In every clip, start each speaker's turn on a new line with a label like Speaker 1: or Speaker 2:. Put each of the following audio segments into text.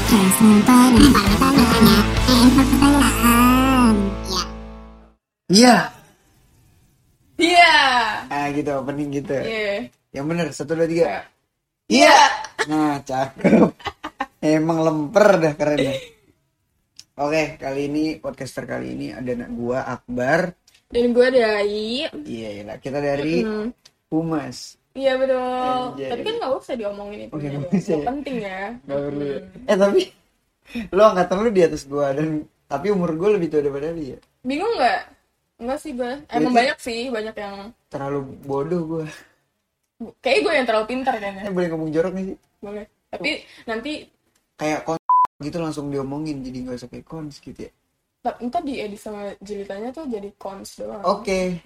Speaker 1: nonton pertanyaannya eh pertanyaan ya
Speaker 2: Iya.
Speaker 3: Iya.
Speaker 2: Nah gitu opening gitu.
Speaker 3: Iya.
Speaker 2: Yang bener satu dua tiga. Iya. Nah cakep. Emang lemper dah keren. dah. Oke kali ini podcaster kali ini ada anak gua Akbar.
Speaker 3: Dan gue dari
Speaker 2: Iya lah kita dari Humas.
Speaker 3: Hmm. Iya betul.
Speaker 2: Anjay.
Speaker 3: Tapi kan nggak usah diomongin itu.
Speaker 2: iya. Oke,
Speaker 3: ya,
Speaker 2: nggak
Speaker 3: dong.
Speaker 2: usah ya.
Speaker 3: Nggak penting ya.
Speaker 2: Gak perlu. ya. Eh tapi lo angkatan lu di atas gua dan tapi umur gua lebih tua daripada ya. dia.
Speaker 3: Bingung nggak? Enggak sih gue.
Speaker 2: Berarti-
Speaker 3: Emang banyak sih, banyak yang
Speaker 2: Terlalu bodoh gua.
Speaker 3: kayak gue yang terlalu pintar kayaknya.
Speaker 2: Eh, boleh ngomong jorok gak sih?
Speaker 3: Boleh. Tapi nanti
Speaker 2: Kayak kon gitu langsung diomongin jadi gak usah kayak kons gitu ya.
Speaker 3: ta- ntar di edit sama jilitannya tuh jadi cons doang.
Speaker 2: Oke.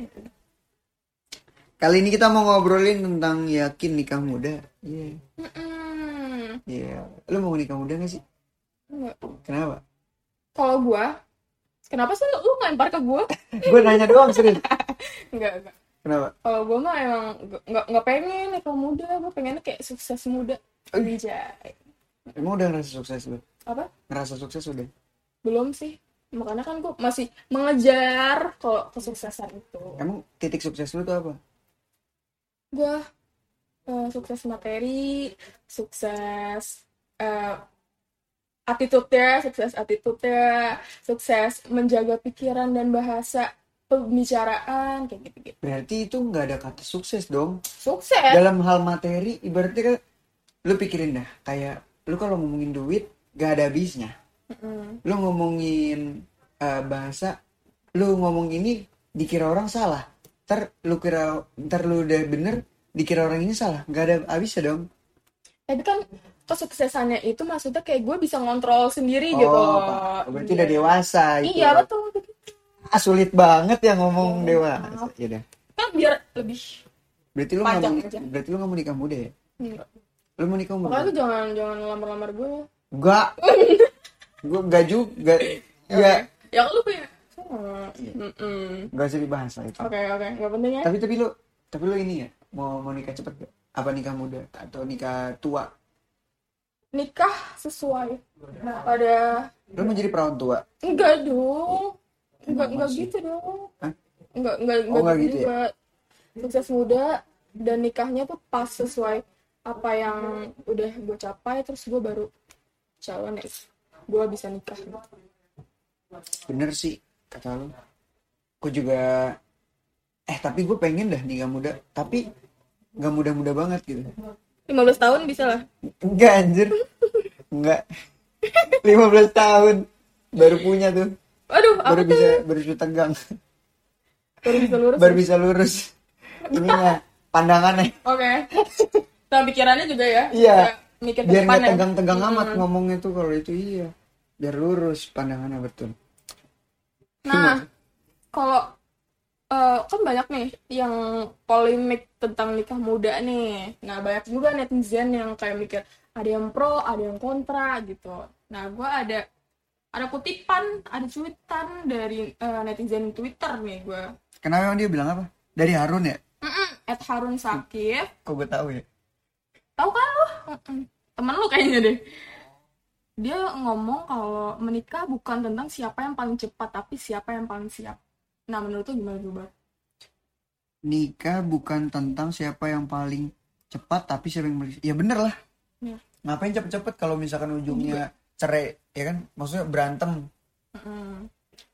Speaker 2: Kali ini kita mau ngobrolin tentang yakin nikah muda. Iya.
Speaker 3: Mm-mm.
Speaker 2: Iya. Lu mau nikah muda gak sih?
Speaker 3: Nggak.
Speaker 2: Kenapa?
Speaker 3: Kalau gue, kenapa sih lu, lu lempar ke gue?
Speaker 2: gue Eh, nanya doang serius.
Speaker 3: Enggak, enggak.
Speaker 2: Kenapa?
Speaker 3: Kalau gue mah emang nggak nggak pengen nikah muda, gue pengennya kayak sukses muda. Anjay.
Speaker 2: Emang udah ngerasa sukses lu?
Speaker 3: Apa?
Speaker 2: Ngerasa sukses udah?
Speaker 3: belum sih makanya kan gue masih mengejar kalau kesuksesan itu
Speaker 2: Emang titik sukses lu tuh apa?
Speaker 3: gue eh, sukses materi sukses eh attitude-nya sukses attitude-nya sukses menjaga pikiran dan bahasa pembicaraan kayak gitu gitu
Speaker 2: Berarti itu nggak ada kata sukses dong.
Speaker 3: sukses
Speaker 2: Dalam hal materi, ibaratnya kan lu pikirin dah. Kayak lu kalau ngomongin duit, gak ada habisnya.
Speaker 3: Mm-mm.
Speaker 2: Lu ngomongin eh, bahasa, lu ngomong ini dikira orang salah. Ntar lu kira, ntar lu udah bener, dikira orang ini salah. Gak ada habisnya dong.
Speaker 3: tapi kan kesuksesannya itu maksudnya kayak gue bisa ngontrol sendiri
Speaker 2: Oh,
Speaker 3: gitu
Speaker 2: Pak. berarti udah dewasa itu.
Speaker 3: iya betul Iya.
Speaker 2: Ah, sulit banget ya ngomong dewasa. Ya udah.
Speaker 3: kan biar lebih
Speaker 2: Berarti lu nggak mau,
Speaker 3: Panjang aja.
Speaker 2: berarti lu nggak mau nikah muda ya?
Speaker 3: Enggak.
Speaker 2: Lu mau nikah muda?
Speaker 3: makanya lu jangan jangan lamar-lamar gue
Speaker 2: Enggak. Gue enggak juga. Enggak.
Speaker 3: ya lu punya sama Mm-mm.
Speaker 2: Enggak usah dibahas lah itu.
Speaker 3: oke oke nggak penting ya
Speaker 2: Tapi tapi lu tapi lu ini ya mau mau nikah cepet gak? Apa nikah muda atau nikah tua?
Speaker 3: nikah sesuai pada
Speaker 2: Lu mau jadi perawan tua?
Speaker 3: enggak dong enggak enggak
Speaker 2: Masih.
Speaker 3: gitu dong
Speaker 2: Hah?
Speaker 3: enggak enggak
Speaker 2: Oh, enggak gitu ya?
Speaker 3: juga sukses muda dan nikahnya tuh pas sesuai apa yang udah gue capai terus gue baru calon ya gue bisa nikah
Speaker 2: Bener sih kata lu. Gue juga eh tapi gue pengen dah nikah muda, tapi nggak muda-muda banget gitu.
Speaker 3: 15 tahun bisa lah
Speaker 2: Enggak anjir. Enggak. 15 tahun baru punya tuh.
Speaker 3: aduh apa
Speaker 2: Baru
Speaker 3: tuh
Speaker 2: bisa baru bisa tegang.
Speaker 3: baru bisa ya? lurus
Speaker 2: Baru bisa lurus. Ini ya, mah pandangannya.
Speaker 3: oke nah pikirannya juga ya
Speaker 2: Iya.
Speaker 3: Kayak mikir
Speaker 2: biar
Speaker 3: ke ya.
Speaker 2: nggak
Speaker 3: depannya. Hmm.
Speaker 2: tegang-tegang amat ngomongnya tuh kalau itu iya biar lurus pandangannya betul
Speaker 3: Nah, kalau eh, kan banyak nih yang polemik tentang nikah muda nih. Nah, banyak juga netizen yang kayak mikir ada yang pro, ada yang kontra gitu. Nah, gua ada ada kutipan, ada cuitan dari eh, netizen Twitter nih gue.
Speaker 2: kenapa emang dia bilang apa dari Harun ya
Speaker 3: At Harun Sakif,
Speaker 2: kok gue tahu ya
Speaker 3: tahu kan lu? Mm-mm. Temen lu kayaknya deh. Dia ngomong kalau menikah bukan tentang siapa yang paling cepat, tapi siapa yang paling siap. Nah, menurut lu gimana coba?
Speaker 2: nikah bukan tentang siapa yang paling cepat tapi siapa yang paling- ya bener lah
Speaker 3: Iya.
Speaker 2: ngapain cepet-cepet kalau misalkan ujungnya cerai ya kan maksudnya berantem
Speaker 3: Mm-mm.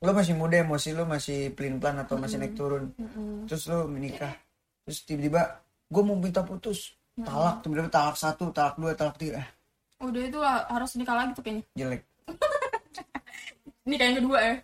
Speaker 2: lo masih muda emosi lo masih pelin pelan atau masih naik turun terus lo menikah terus tiba-tiba gue mau minta putus talak tiba-tiba talak satu talak dua talak tiga ah,
Speaker 3: Nah, Udah itu lah, harus nikah lagi tuh kayaknya.
Speaker 2: jelek
Speaker 3: Nikah yang kedua ya.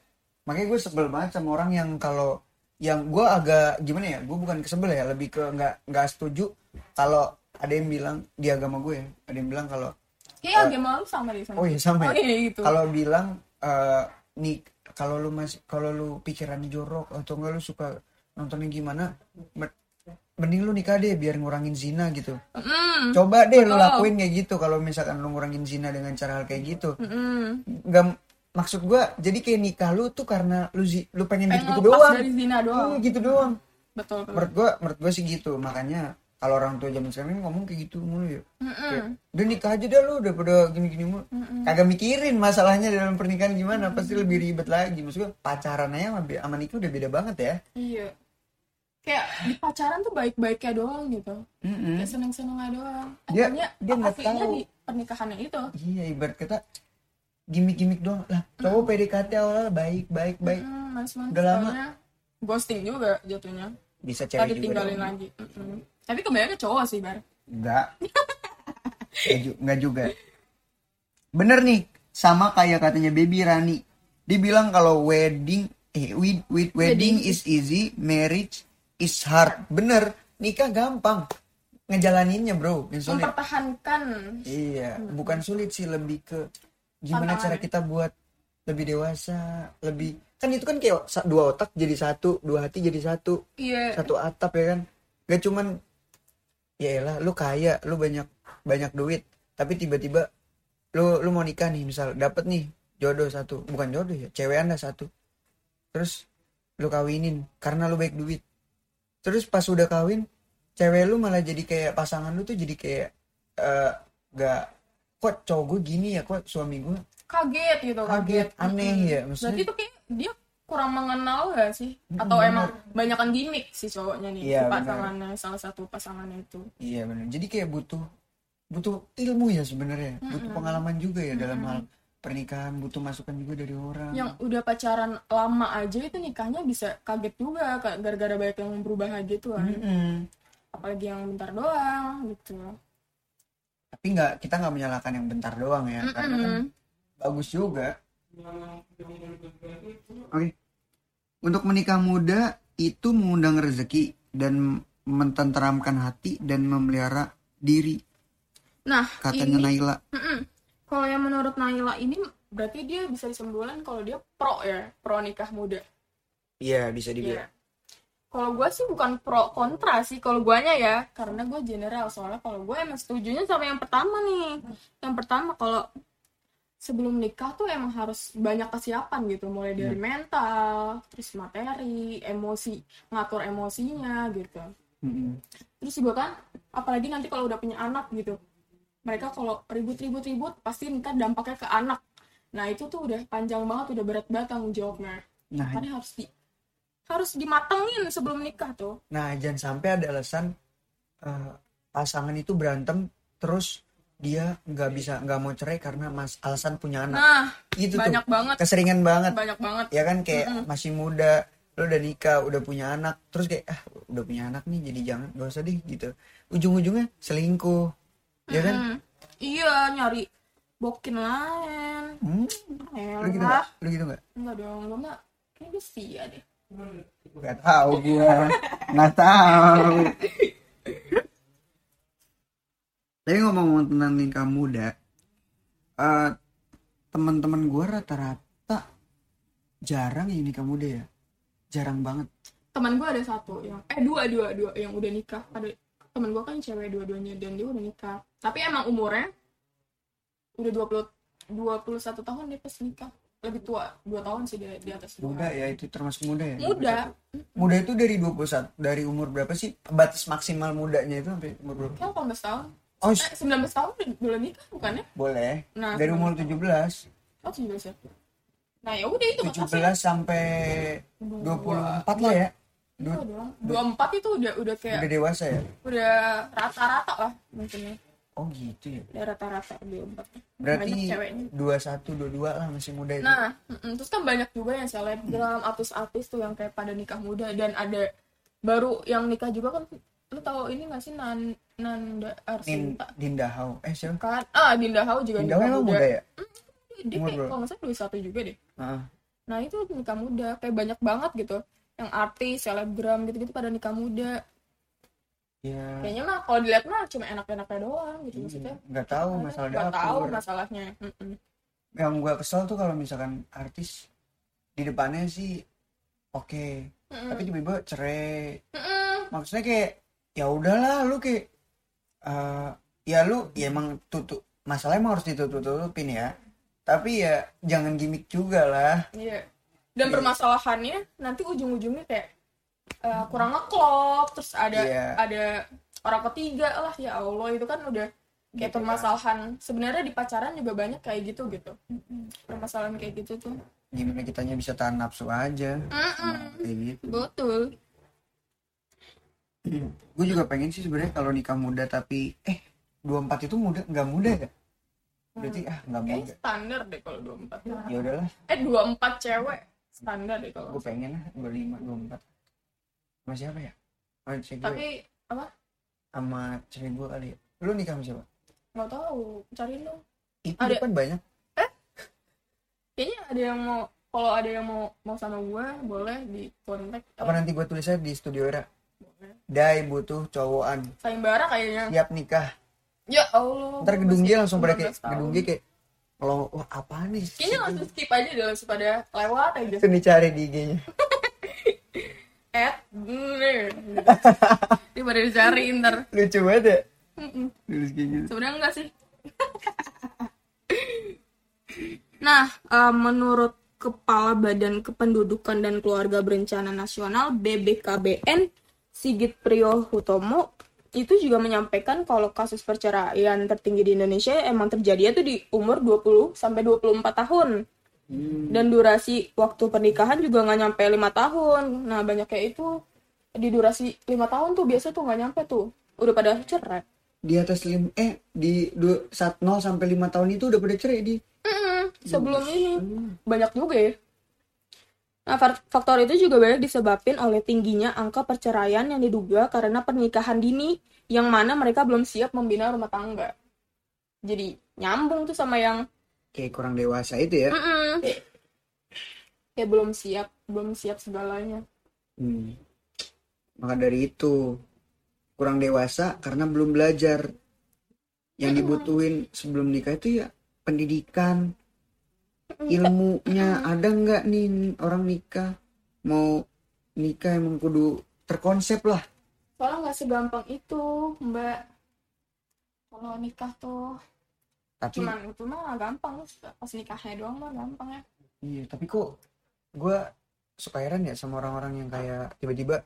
Speaker 2: makanya gue sebel banget sama orang yang kalau yang gue agak gimana ya gue bukan kesebel ya lebih ke nggak nggak setuju kalau ada yang bilang di agama gue ya ada yang bilang kalau
Speaker 3: Kayaknya agama lu sama deh sama.
Speaker 2: Iya. oh iya sama
Speaker 3: Oh,
Speaker 2: ya
Speaker 3: iya gitu.
Speaker 2: kalau bilang eh nih kalau lu masih kalau lu pikirannya jorok atau enggak lu suka nontonnya gimana men- mending lu nikah deh biar ngurangin zina gitu
Speaker 3: Mm,
Speaker 2: coba deh lu
Speaker 3: Betul.
Speaker 2: lakuin kayak gitu kalau misalkan lu ngurangin zina dengan cara hal kayak gitu
Speaker 3: mm,
Speaker 2: nggak maksud gua jadi kayak nikah lu tuh karena lu zi- lu pengen
Speaker 3: Pengen
Speaker 2: gitu, -gitu
Speaker 3: lepas
Speaker 2: doang
Speaker 3: dari zina doang. Mm.
Speaker 2: Iya, gitu doang
Speaker 3: Betul. betul.
Speaker 2: menurut gua menurut gua sih gitu makanya kalau orang tua zaman sekarang ngomong kayak gitu mulu ya
Speaker 3: Mm-mm.
Speaker 2: Kayak, udah nikah aja dah lu daripada gini-gini mulu kagak mikirin masalahnya dalam pernikahan gimana pasti lebih ribet lagi maksudnya pacaran aja sama, sama nikah udah beda banget ya
Speaker 3: Iya. Kayak di pacaran tuh baik-baiknya doang gitu.
Speaker 2: Mm-mm.
Speaker 3: Kayak seneng-senengnya doang.
Speaker 2: Hmm.
Speaker 3: Eh,
Speaker 2: Dia-
Speaker 3: Akhirnya
Speaker 2: dia nggak
Speaker 3: aslinya
Speaker 2: tahu.
Speaker 3: di pernikahannya itu.
Speaker 2: iya ibarat kata gimmick-gimmick doang lah cowok PDKT awalnya oh, baik baik baik
Speaker 3: Hmm, mas mas
Speaker 2: Udah lama.
Speaker 3: soalnya ghosting juga jatuhnya.
Speaker 2: bisa
Speaker 3: Tadi
Speaker 2: cewek juga
Speaker 3: tinggalin
Speaker 2: doang.
Speaker 3: lagi. Mm-mm. Tapi kebanyakan cowok sih, Bar.
Speaker 2: enggak Nggak ju- nggak juga bener nih sama kayak katanya baby Rani dibilang kalau wedding eh wed- wed- wedding is easy marriage is hard bener nikah gampang ngejalaninnya bro yang sulit
Speaker 3: Mempertahankan.
Speaker 2: Iya, bukan sulit sih lebih ke gimana
Speaker 3: Tantangan
Speaker 2: cara
Speaker 3: ya?
Speaker 2: kita buat lebih dewasa, lebih kan itu kan kayak sa- dua otak jadi satu, dua hati jadi satu,
Speaker 3: Iya.
Speaker 2: satu atap ya kan. Gak cuman ya elah lu kaya, lu banyak banyak duit, tapi tiba-tiba lu lu mau nikah nih misal dapet nih jodoh satu, bukan jodoh ya, cewek anda satu. Terus lu kawinin karena lu baik duit. Terus pas udah kawin, cewek lu malah jadi kayak pasangan lu tuh jadi kayak eh, gak kok cowok gue gini ya kok suami gue
Speaker 3: Kaget gitu,
Speaker 2: kaget aneh
Speaker 3: Mm-mm.
Speaker 2: ya
Speaker 3: Berarti
Speaker 2: maksudnya
Speaker 3: itu kayak dia kurang mengenal gak sih? Atau
Speaker 2: Mm-mm,
Speaker 3: emang banyakan gimmick si cowoknya nih,
Speaker 2: Iya,
Speaker 3: si
Speaker 2: benar.
Speaker 3: pasangannya, salah satu pasangannya itu.
Speaker 2: iya benar jadi kayak butuh butuh ilmu ya sebenarnya butuh pengalaman juga ya dalam hal pernikahan butuh masukan juga dari orang
Speaker 3: yang udah pacaran lama aja itu nikahnya bisa kaget juga kayak gara-gara banyak yang berubah aja tuh kan
Speaker 2: Hmm. Mm-mm.
Speaker 3: apalagi yang bentar doang gitu
Speaker 2: tapi nggak kita nggak menyalahkan yang bentar doang ya karena kan
Speaker 3: Mm-mm.
Speaker 2: bagus juga oke untuk menikah muda itu mengundang rezeki dan mententeramkan hati dan memelihara diri
Speaker 3: nah
Speaker 2: katanya
Speaker 3: ini
Speaker 2: Naila
Speaker 3: mm-mm. kalau yang menurut Naila ini berarti dia bisa disembulan kalau dia pro ya pro nikah muda
Speaker 2: Iya bisa
Speaker 3: Iya. kalau gue sih bukan pro kontra sih kalau guanya ya karena gue general soalnya kalau gue emang setujunya sama yang pertama nih yang pertama kalau sebelum nikah tuh emang harus banyak kesiapan gitu mulai dari mental terus materi emosi ngatur emosinya gitu
Speaker 2: Mm-mm.
Speaker 3: terus juga kan apalagi nanti kalau udah punya anak gitu mereka kalau ribut-ribut-ribut pasti ntar dampaknya ke anak nah itu tuh udah panjang banget udah berat banget tanggung jawabnya
Speaker 2: Nah,
Speaker 3: makanya harus di harus dimatengin sebelum nikah tuh
Speaker 2: nah jangan sampai ada alasan eh, pasangan itu berantem terus dia nggak bisa nggak mau cerai karena mas alasan punya anak.
Speaker 3: nah
Speaker 2: itu
Speaker 3: banyak
Speaker 2: tuh
Speaker 3: banget
Speaker 2: keseringan banget
Speaker 3: banyak banget
Speaker 2: ya kan kayak masih muda lu udah nikah udah punya anak terus kayak ah udah punya anak nih jadi jangan gak usah deh gitu ujung-ujungnya selingkuh ya kan
Speaker 3: Hmm. iya nyari bokin lain
Speaker 2: Hmm, lu gitu
Speaker 3: elah
Speaker 2: nggak lu gitu nggak
Speaker 3: enggak dong lo mah kayaknya gue sia deh
Speaker 2: nggak tahu gua nggak tahu tapi ngomong-ngomong tentang nikah muda eh teman-teman gua rata-rata jarang yang nikah muda ya jarang banget
Speaker 3: teman gue ada satu yang eh dua dua dua yang udah nikah ada teman gue kan cewek dua-duanya dan dia udah nikah tapi emang umurnya udah 20 21 tahun dia pas nikah lebih tua dua tahun sih dia di atas gua.
Speaker 2: muda ya itu termasuk muda ya
Speaker 3: muda
Speaker 2: muda itu dari 21 dari umur berapa sih batas maksimal mudanya itu sampai umur berapa
Speaker 3: kayak 18 tahun
Speaker 2: oh
Speaker 3: eh 19 tahun udah, udah nikah bukannya
Speaker 2: boleh
Speaker 3: Nah,
Speaker 2: dari umur 17
Speaker 3: oh 19 ya nah ya udah itu
Speaker 2: 17
Speaker 3: makasih
Speaker 2: sampai 24 lah ya
Speaker 3: Itu doang. 24 itu udah udah kayak
Speaker 2: udah dewasa ya
Speaker 3: udah rata-rata lah mungkin ya.
Speaker 2: oh gitu ya
Speaker 3: udah rata-rata 24 banyak
Speaker 2: Berarti
Speaker 3: ceweknya
Speaker 2: 21 22 lah masih muda itu.
Speaker 3: Nah, mm-mm. terus kan banyak juga yang selebgram, artis-artis tuh yang kayak pada nikah muda dan ada baru yang nikah juga kan lu tahu ini nggak sih Nan, Nanda
Speaker 2: Din,
Speaker 3: Arsinta
Speaker 2: Dinda Hao. Eh siapa?
Speaker 3: kan ah Dinda Hao juga
Speaker 2: Dinda Hao
Speaker 3: nikah
Speaker 2: emang
Speaker 3: muda,
Speaker 2: muda ya?
Speaker 3: dia
Speaker 2: Umur
Speaker 3: kayak
Speaker 2: berapa?
Speaker 3: kalau nggak salah dua satu juga deh
Speaker 2: Heeh.
Speaker 3: nah itu nikah muda kayak banyak banget gitu yang artis selebgram gitu-gitu pada nikah muda
Speaker 2: Ya,
Speaker 3: kayaknya mah kalau dilihat mah cuma enak-enaknya doang
Speaker 2: Hmm.
Speaker 3: gitu maksudnya
Speaker 2: nggak tahu masalah
Speaker 3: nggak tahu
Speaker 2: dapur.
Speaker 3: masalahnya Mm-mm.
Speaker 2: Yang gua kesel tuh kalau misalkan artis di depannya sih oke,
Speaker 3: Mm-mm.
Speaker 2: tapi tiba-tiba cerai.
Speaker 3: Mm-mm.
Speaker 2: Maksudnya kayak ya udahlah lu kayak eh, ya lu ya emang tutup masalah emang harus ditutup-tutupin ya. Tapi ya jangan gimmick juga lah.
Speaker 3: Iya. Dan permasalahannya nanti ujung-ujungnya kayak eh, kurang ngeklop, terus ada
Speaker 2: Iya.
Speaker 3: ada orang ketiga lah ya Allah itu kan udah kayak
Speaker 2: Gitu kan.
Speaker 3: permasalahan sebenarnya di pacaran juga banyak kayak gitu gitu permasalahan kayak gitu tuh
Speaker 2: gimana kitanya bisa tahan nafsu aja
Speaker 3: Mm-mm.
Speaker 2: kayak gitu
Speaker 3: betul
Speaker 2: gue juga pengen sih sebenarnya kalau nikah muda tapi eh 24 itu muda nggak muda ya berarti ah nggak
Speaker 3: kayaknya
Speaker 2: muda
Speaker 3: standar deh kalau 24
Speaker 2: ya udahlah
Speaker 3: eh 24 cewek standar deh kalau
Speaker 2: gue pengen lah 25 24 sama siapa ya sama cewek gue
Speaker 3: tapi apa
Speaker 2: sama cewek gue kali ya. lu nikah sama siapa
Speaker 3: nggak tahu cariin dong
Speaker 2: itu
Speaker 3: Ada-
Speaker 2: depan banyak
Speaker 3: kayaknya ada yang mau kalau ada yang mau mau sama gue boleh di kontak
Speaker 2: apa nanti gue tulis aja di studio era
Speaker 3: Oh. Boleh.
Speaker 2: Dai butuh cowokan
Speaker 3: sayembara kayaknya
Speaker 2: siap nikah
Speaker 3: ya Allah
Speaker 2: ntar gedung
Speaker 3: masih
Speaker 2: dia langsung pada kayak
Speaker 3: 19 tahun.
Speaker 2: gedung dia kayak kalau wah apa nih
Speaker 3: kayaknya langsung skip aja deh langsung pada lewat aja
Speaker 2: itu dicari di IG-nya
Speaker 3: at mm, gitu. dia pada dicari ntar
Speaker 2: lucu banget ya
Speaker 3: Mm-mm.
Speaker 2: Nulis kayak gitu
Speaker 3: sebenarnya enggak sih nah eh, menurut Kepala Badan Kependudukan dan Keluarga Berencana Nasional BBKBN Sigit Priyo Hutomo itu juga menyampaikan kalau kasus perceraian tertinggi di Indonesia emang terjadinya tuh di umur 20 sampai 24 tahun. Dan durasi waktu pernikahan juga nggak nyampe lima tahun. Nah, banyak kayak itu di durasi lima tahun tuh biasa tuh nggak nyampe tuh. Udah pada cerai.
Speaker 2: di atas lim eh di du, saat 0 sampai 5 tahun itu udah pada cerai di
Speaker 3: Mm-mm, sebelum ini banyak juga ya. Nah, fak- faktor itu juga banyak disebabkan oleh tingginya angka perceraian yang diduga karena pernikahan dini yang mana mereka belum siap membina rumah tangga. Jadi nyambung tuh sama yang
Speaker 2: kayak kurang dewasa itu ya
Speaker 3: Mm-mm. ya belum siap, belum siap segalanya.
Speaker 2: Hmm. maka dari itu kurang dewasa karena belum belajar yang dibutuhin sebelum nikah itu ya pendidikan ilmunya ada nggak nih orang nikah mau nikah emang kudu terkonsep lah
Speaker 3: Soalnya nggak segampang itu, Mbak. Kalau nikah tuh
Speaker 2: tapi
Speaker 3: cuman itu mah gampang pas nikahnya doang mah gampang ya.
Speaker 2: Iya, tapi kok gue suka heran ya sama orang-orang yang kayak tiba-tiba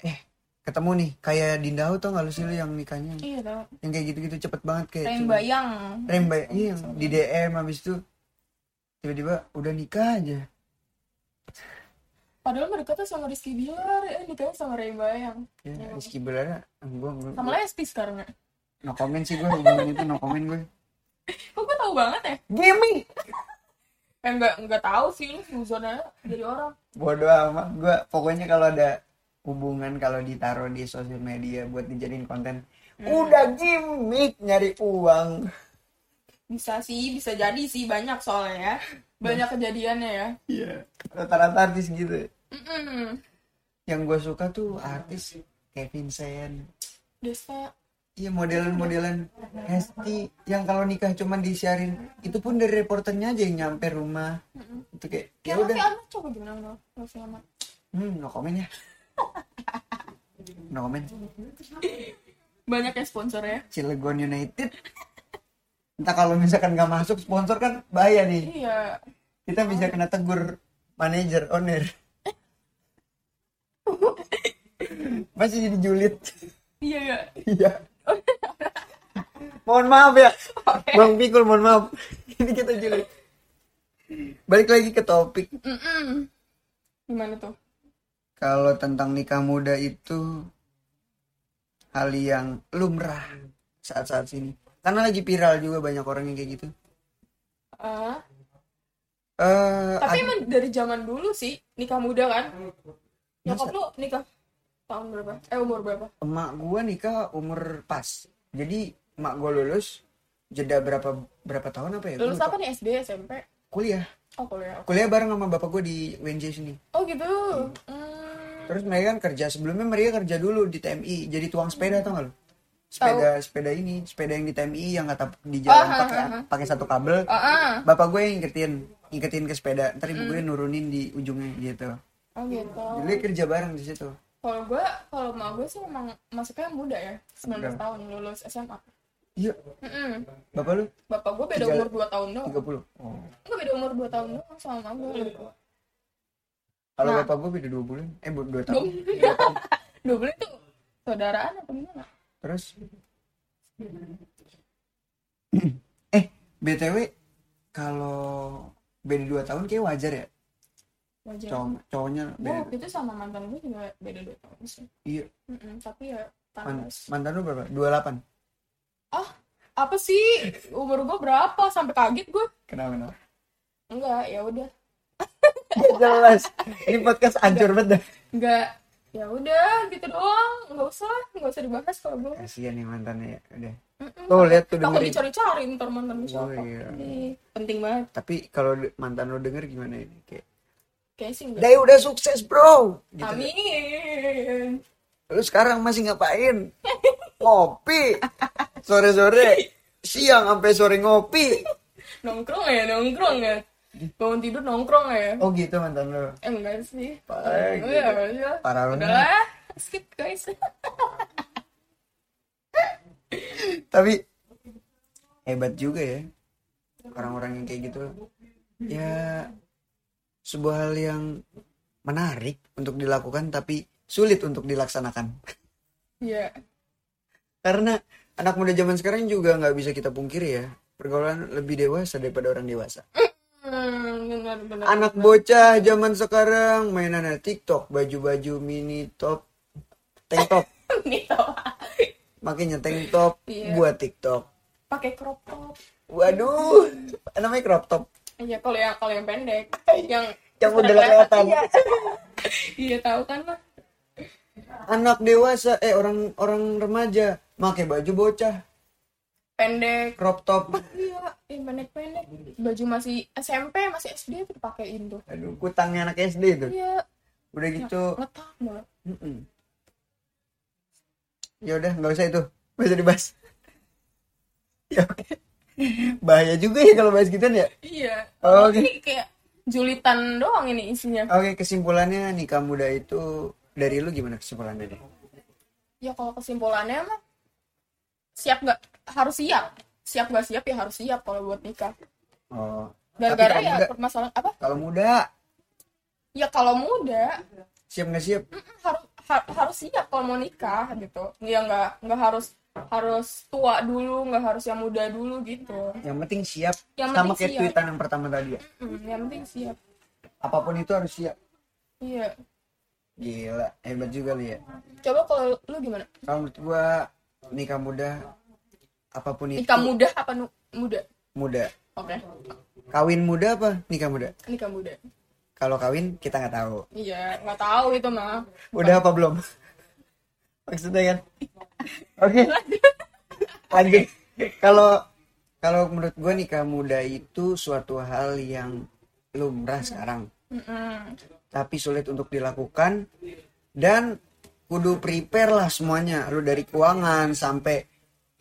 Speaker 2: eh ketemu nih kayak Dinda Au tau gak lu sih lu yang nikahnya
Speaker 3: Iya tuh.
Speaker 2: yang kayak gitu-gitu cepet banget kayak
Speaker 3: Kayak
Speaker 2: cuma-
Speaker 3: bayang.
Speaker 2: Remba iya yang di DM habis itu tiba-tiba udah nikah aja
Speaker 3: Padahal mereka tuh sama Rizky Bilar, eh, nikahnya sama Ray Bayang.
Speaker 2: ya,
Speaker 3: Iya.
Speaker 2: Rizky Bilar gue
Speaker 3: Sama Lesti sekarang ya.
Speaker 2: no comment sih gue hubungan itu no comment gue
Speaker 3: Kok gue tau banget ya?
Speaker 2: gaming
Speaker 3: Eh, nggak, nggak tahu sih, ini suzonnya dari orang.
Speaker 2: bodoh amat gue pokoknya kalau ada hubungan kalau ditaruh di sosial media buat dijadiin konten
Speaker 3: Hmm.
Speaker 2: udah gimmick nyari uang
Speaker 3: Hmm, Bisa sih, bisa jadi sih, banyak soalnya ya. Banyak kejadiannya ya.
Speaker 2: Iya, rata-rata artis gitu.
Speaker 3: Mm-mm.
Speaker 2: Yang gue suka tuh artis Kevin Sen.
Speaker 3: Desa,
Speaker 2: Iya modelan-modelan Hesti yang kalau nikah cuman disiarin itu pun dari reporternya aja yang nyampe rumah. Itu kayak ya
Speaker 3: ya
Speaker 2: udah,
Speaker 3: Raffi Ahmad coba gimana dong? Raffi Ahmad.
Speaker 2: hmm, no comment ya. no comment.
Speaker 3: Banyak ya sponsornya.
Speaker 2: Cilegon United. Entah kalau misalkan nggak masuk sponsor kan bahaya nih.
Speaker 3: Iya,
Speaker 2: Kita bisa kena tegur manajer owner. Masih jadi julid.
Speaker 3: iya, iya.
Speaker 2: Iya. mohon maaf ya. Bang Pikul mohon maaf. Ini kita julid. Balik lagi ke topik.
Speaker 3: Mm-mm. Gimana tuh?
Speaker 2: Kalau tentang nikah muda itu hal yang lumrah saat-saat sini. Karena lagi viral juga banyak orang yang kayak gitu.
Speaker 3: Eh,
Speaker 2: Eh,
Speaker 3: tapi
Speaker 2: ad-
Speaker 3: emang dari zaman dulu sih nikah muda kan nyokap lu nikah tahun berapa eh umur berapa
Speaker 2: emak gua nikah umur pas. Jadi emak gua lulus jeda berapa berapa tahun apa ya? Gua
Speaker 3: lulus
Speaker 2: lupa.
Speaker 3: apa nih SD SMP
Speaker 2: Kuliah.
Speaker 3: oh kuliah
Speaker 2: Kuliah bareng sama bapak gua di UNJ sini.
Speaker 3: oh gitu Hmm,
Speaker 2: Terus mereka kan kerja sebelumnya mereka kerja dulu di TMI jadi tuang sepeda tau gak lu? Sepeda sepeda ini sepeda yang di TMI yang nggak tapuk di jalan
Speaker 3: Ah,
Speaker 2: pakai
Speaker 3: ah,
Speaker 2: pakai satu kabel.
Speaker 3: ah, ah.
Speaker 2: Bapak gue yang ngiketin ngiketin ke sepeda. Ntar ibu
Speaker 3: Hmm.
Speaker 2: gue nurunin di ujungnya gitu.
Speaker 3: oh gitu
Speaker 2: Jadi kerja bareng di situ.
Speaker 3: kalau gue kalau mau gue sih emang masuknya muda ya 19
Speaker 2: Muda.
Speaker 3: tahun lulus SMA
Speaker 2: Iya.
Speaker 3: Mm-mm.
Speaker 2: Bapak lu
Speaker 3: bapak gue beda
Speaker 2: Tiga-
Speaker 3: umur 2 tahun doang
Speaker 2: 30. Oh.
Speaker 3: gue beda umur 2 tahun doang sama mama gitu. gue lebih tua
Speaker 2: Kalau
Speaker 3: Nah.
Speaker 2: bapak gue beda 2 bulan. Eh bu- 2
Speaker 3: dua
Speaker 2: tahun.
Speaker 3: dua bulan itu saudaraan atau gimana
Speaker 2: Terus Eh, BTW kalau beda 2 tahun kayak wajar ya.
Speaker 3: wajar
Speaker 2: Cowok cowoknya
Speaker 3: gue
Speaker 2: beda.
Speaker 3: waktu itu sama mantan gue juga beda dua tahun sih
Speaker 2: Iya,
Speaker 3: Mm-mm, tapi ya
Speaker 2: man-
Speaker 3: panas
Speaker 2: mantan lu berapa? 28.
Speaker 3: apa sih umur gue berapa sampai kaget gue
Speaker 2: Kenapa kenapa?
Speaker 3: enggak ya udah
Speaker 2: Jelas. Ini podcast hancur banget. dah.
Speaker 3: enggak ya udah gitu doang nggak usah nggak usah dibahas kalau gue
Speaker 2: Kasihan nih mantannya ya. Udah.
Speaker 3: Mm-mm.
Speaker 2: Tuh lihat tuh
Speaker 3: takut
Speaker 2: dengerin.
Speaker 3: dicari-cari ntar mantan gue siapa
Speaker 2: Oh, iya.
Speaker 3: Ih, penting banget
Speaker 2: Tapi kalau de- mantan lu denger gimana ini? Kayak,
Speaker 3: kayak sih enggak
Speaker 2: "Day udah sukses, Bro." Gitu.
Speaker 3: amin
Speaker 2: Lu sekarang masih ngapain? Ngopi. Sore-sore, siang sampai sore ngopi.
Speaker 3: nongkrong ya nongkrong ya bangun tidur nongkrong ya
Speaker 2: Oh gitu mantan lu.
Speaker 3: eh enggak sih
Speaker 2: Parah gitu.
Speaker 3: Iya, iya.
Speaker 2: Parah lu.
Speaker 3: udah lah skip guys
Speaker 2: Tapi hebat juga ya orang-orang yang kayak gitu. Ya sebuah hal yang menarik untuk dilakukan tapi sulit untuk dilaksanakan.
Speaker 3: Iya,
Speaker 2: Karena anak muda zaman sekarang juga nggak bisa kita pungkiri ya. Pergaulan lebih dewasa daripada orang dewasa.
Speaker 3: hmm, benar benar
Speaker 2: Anak bocah zaman sekarang mainannya TikTok, baju-baju mini top, tank top,
Speaker 3: ini tau
Speaker 2: makanya tank top
Speaker 3: Iya.
Speaker 2: buat TikTok.
Speaker 3: pakai crop top
Speaker 2: Waduh, namanya crop top.
Speaker 3: Iya kalau yang kalau yang pendek, yang
Speaker 2: Yang udah kelihatan.
Speaker 3: Iya. Iya tahu kan lah.
Speaker 2: Anak dewasa eh orang orang remaja pakai baju bocah,
Speaker 3: Pendek.
Speaker 2: crop top.
Speaker 3: Iya, yang pendek-pendek. Baju masih SMP, masih SD itu dipakein tuh.
Speaker 2: Aduh, kutangnya anak SD itu.
Speaker 3: Iya,
Speaker 2: Udah gitu.
Speaker 3: letak banget.
Speaker 2: mm-mm. Ya udah, nggak usah itu. Nggak usah dibahas. ya oke. Bahaya juga ya kalau bahas gituan ya.
Speaker 3: Iya.
Speaker 2: Oh, oke.
Speaker 3: Ini kayak julitan doang ini isinya.
Speaker 2: Oke, kesimpulannya nikah muda itu dari lu gimana kesimpulannya? nih?
Speaker 3: Ya kalau kesimpulannya mah siap nggak harus siap. Siap nggak siap ya harus siap kalau buat nikah.
Speaker 2: Oh, Tapi
Speaker 3: Gara-gara
Speaker 2: kalau
Speaker 3: ya
Speaker 2: muda-
Speaker 3: permasalahan apa?
Speaker 2: kalau muda
Speaker 3: Ya kalau muda
Speaker 2: siap nggak siap?
Speaker 3: harus har- harus siap kalau mau nikah gitu ya nggak nggak harus harus tua dulu nggak harus yang muda dulu gitu
Speaker 2: Yang penting siap.
Speaker 3: Yang
Speaker 2: sama
Speaker 3: penting
Speaker 2: kayak
Speaker 3: siap.
Speaker 2: tweetan yang pertama tadi ya.
Speaker 3: Mm, yang penting siap
Speaker 2: Apapun itu harus siap.
Speaker 3: iya
Speaker 2: Gila, hebat juga lu ya.
Speaker 3: coba kalau lu gimana
Speaker 2: Kalau menurut gua nikah muda apapun itu
Speaker 3: nikah muda apa nu- muda
Speaker 2: muda.
Speaker 3: oke
Speaker 2: Kawin muda apa nikah muda?
Speaker 3: nikah muda
Speaker 2: Kalau kawin kita nggak tahu.
Speaker 3: iya nggak tahu itu mah
Speaker 2: Udah apa belum? Maksudnya kan. Oke. Lanjut. Kalau kalau menurut gua nikah muda itu suatu hal yang lumrah sekarang,
Speaker 3: Mm-mm.
Speaker 2: tapi sulit untuk dilakukan dan kudu prepare lah semuanya. Lu dari keuangan sampai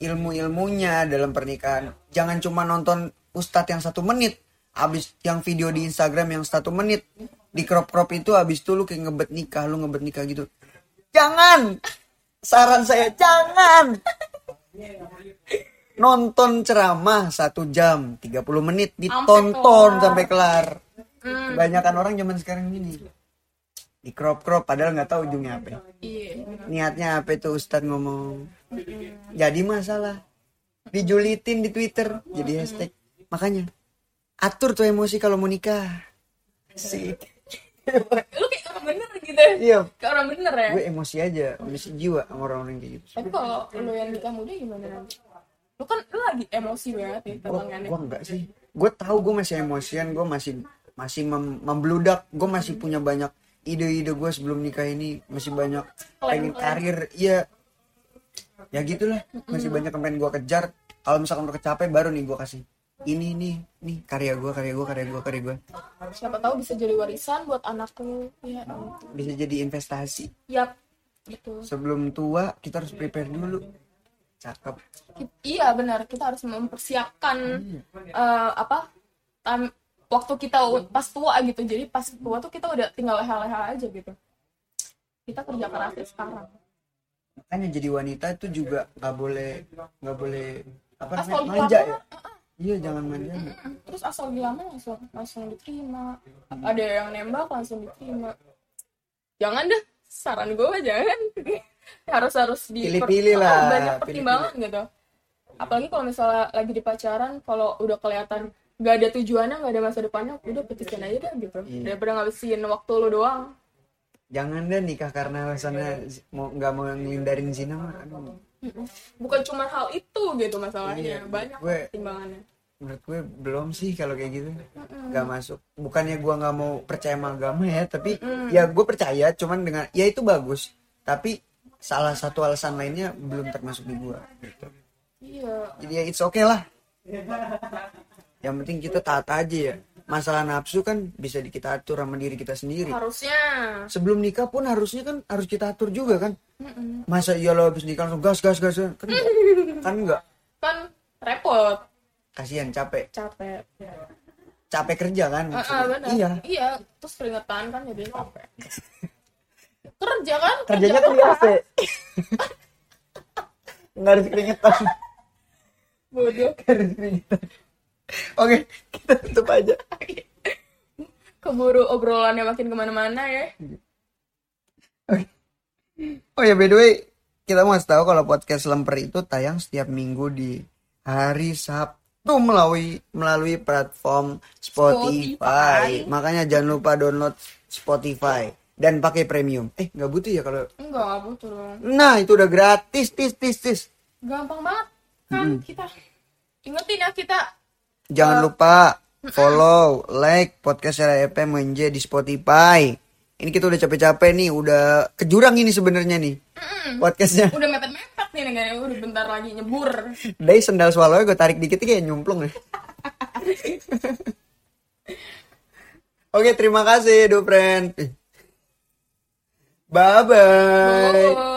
Speaker 2: ilmu-ilmunya dalam pernikahan. Jangan cuma nonton ustadz yang satu menit, habis yang video di Instagram yang satu menit di crop crop itu habis itu lu kayak ngebet nikah, lu ngebet nikah gitu. Jangan. Saran saya jangan. Nonton ceramah satu jam 30 menit ditonton
Speaker 3: kelar.
Speaker 2: sampai kelar. Kebanyakan orang zaman sekarang gini di crop crop padahal nggak tahu ujungnya apa.
Speaker 3: iya
Speaker 2: Niatnya apa itu Ustadz ngomong? Jadi masalah. Dijulitin di Twitter jadi hashtag. Makanya atur tuh emosi kalau mau nikah. Sih.
Speaker 3: lu kayak orang bener gitu ya
Speaker 2: Iya,
Speaker 3: kayak orang bener ya
Speaker 2: gue emosi aja, emosi jiwa sama orang-orang kayak gitu.
Speaker 3: tapi kalau lu yang nikah muda gimana lu kan lu lagi emosi banget ya, nih
Speaker 2: Gue
Speaker 3: tangannya
Speaker 2: gue enggak sih. Gue tahu gue masih emosian, gue masih masih mem- membludak, gue masih punya banyak ide-ide gue sebelum nikah ini masih banyak pengen karir, iya ya gitulah masih banyak yang pengen gue kejar. Kalau misalkan udah kecapai baru nih gue kasih ini nih nih karya gue karya gue karya gue karya gue
Speaker 3: siapa tahu bisa jadi warisan buat anak lu ya ampun.
Speaker 2: bisa jadi investasi
Speaker 3: yap gitu
Speaker 2: sebelum tua kita harus prepare dulu cakep
Speaker 3: Ki- Iya benar kita harus mempersiapkan eh, apa tam- waktu kita u- pas tua gitu jadi pas tua tuh kita udah tinggal leha-leha aja gitu kita kerja keras dari sekarang
Speaker 2: makanya jadi wanita itu juga nggak boleh nggak boleh apa
Speaker 3: Asal
Speaker 2: namanya
Speaker 3: dilamar,
Speaker 2: manja ya iya jangan manja
Speaker 3: terus asal dilamar langsung langsung diterima ada yang nembak langsung diterima jangan deh saran gue mah jangan harus harus di
Speaker 2: Pilih-pilih lah,
Speaker 3: banyak pertimbangan gitu apalagi kalau misalnya lagi di pacaran kalau udah kelihatan nggak ada tujuannya nggak ada masa depannya udah putusin aja deh gitu
Speaker 2: Iya.
Speaker 3: daripada ngabisin waktu lu doang
Speaker 2: jangan deh nikah karena alasannya z- mau nggak mau ngelindarin zina mah aduh
Speaker 3: bukan cuma hal itu gitu masalahnya
Speaker 2: Iya,
Speaker 3: banyak
Speaker 2: gue-
Speaker 3: pertimbangannya
Speaker 2: menurut gue belum sih kalau kayak gitu nggak masuk bukannya gue nggak mau percaya sama agama ya tapi ya gue percaya cuman dengan ya itu bagus tapi salah satu alasan lainnya belum termasuk di gue gitu.
Speaker 3: iya
Speaker 2: jadi ya it's okay lah yang penting kita taat aja ya masalah nafsu kan bisa di- kita atur sama diri kita sendiri
Speaker 3: harusnya
Speaker 2: sebelum nikah pun harusnya kan harus kita atur juga kan masa iya lo habis nikah langsung gas gas gas kan enggak kan enggak
Speaker 3: kan repot
Speaker 2: kasihan capek
Speaker 3: capek
Speaker 2: capek kerja kan
Speaker 3: Ah,
Speaker 2: maksudnya.
Speaker 3: ah, benar.
Speaker 2: iya
Speaker 3: iya terus keringetan kan jadi capek kerja kan
Speaker 2: kerjanya kan di AC nggak harus keringetan
Speaker 3: bodoh
Speaker 2: nggak harus keringetan oke kita tutup aja
Speaker 3: keburu obrolannya makin kemana-mana ya
Speaker 2: oh ya by the way kita mau kasih tahu kalau podcast lemper itu tayang setiap minggu di hari Sabtu melalui melalui platform Spotify.
Speaker 3: Spotify.
Speaker 2: Makanya jangan lupa download Spotify dan pakai premium. Eh nggak butuh ya kalau
Speaker 3: enggak nggak butuh dong
Speaker 2: Nah, itu udah gratis, tis, tis, tis.
Speaker 3: gampang banget kan kita ingetin ya kita
Speaker 2: Jangan lupa follow, like podcast RAP Menje di Spotify. Ini kita udah capek-capek nih, udah kejurang ini sebenarnya nih. Podcastnya.
Speaker 3: udah mepet-mepet nih negara udah bentar lagi nyebur
Speaker 2: Dari sendal swallow gue tarik dikit kayak nyemplung ya. Oke, terima kasih, Dupren. Bye-bye.
Speaker 3: Bobo.